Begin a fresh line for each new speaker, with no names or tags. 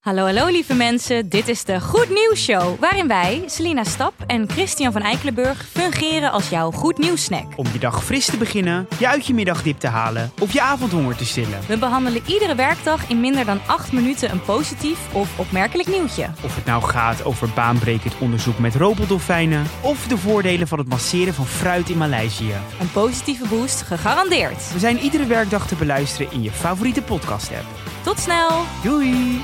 Hallo, hallo lieve mensen. Dit is de Goed Nieuws Show, waarin wij, Selina Stap en Christian van Eikelenburg, fungeren als jouw Goed Nieuws snack.
Om je dag fris te beginnen, je uit je middagdip te halen of je avondhonger te stillen.
We behandelen iedere werkdag in minder dan 8 minuten een positief of opmerkelijk nieuwtje.
Of het nou gaat over baanbrekend onderzoek met robotdolfijnen of de voordelen van het masseren van fruit in Maleisië.
Een positieve boost gegarandeerd.
We zijn iedere werkdag te beluisteren in je favoriete podcast-app.
Tot snel!
Doei!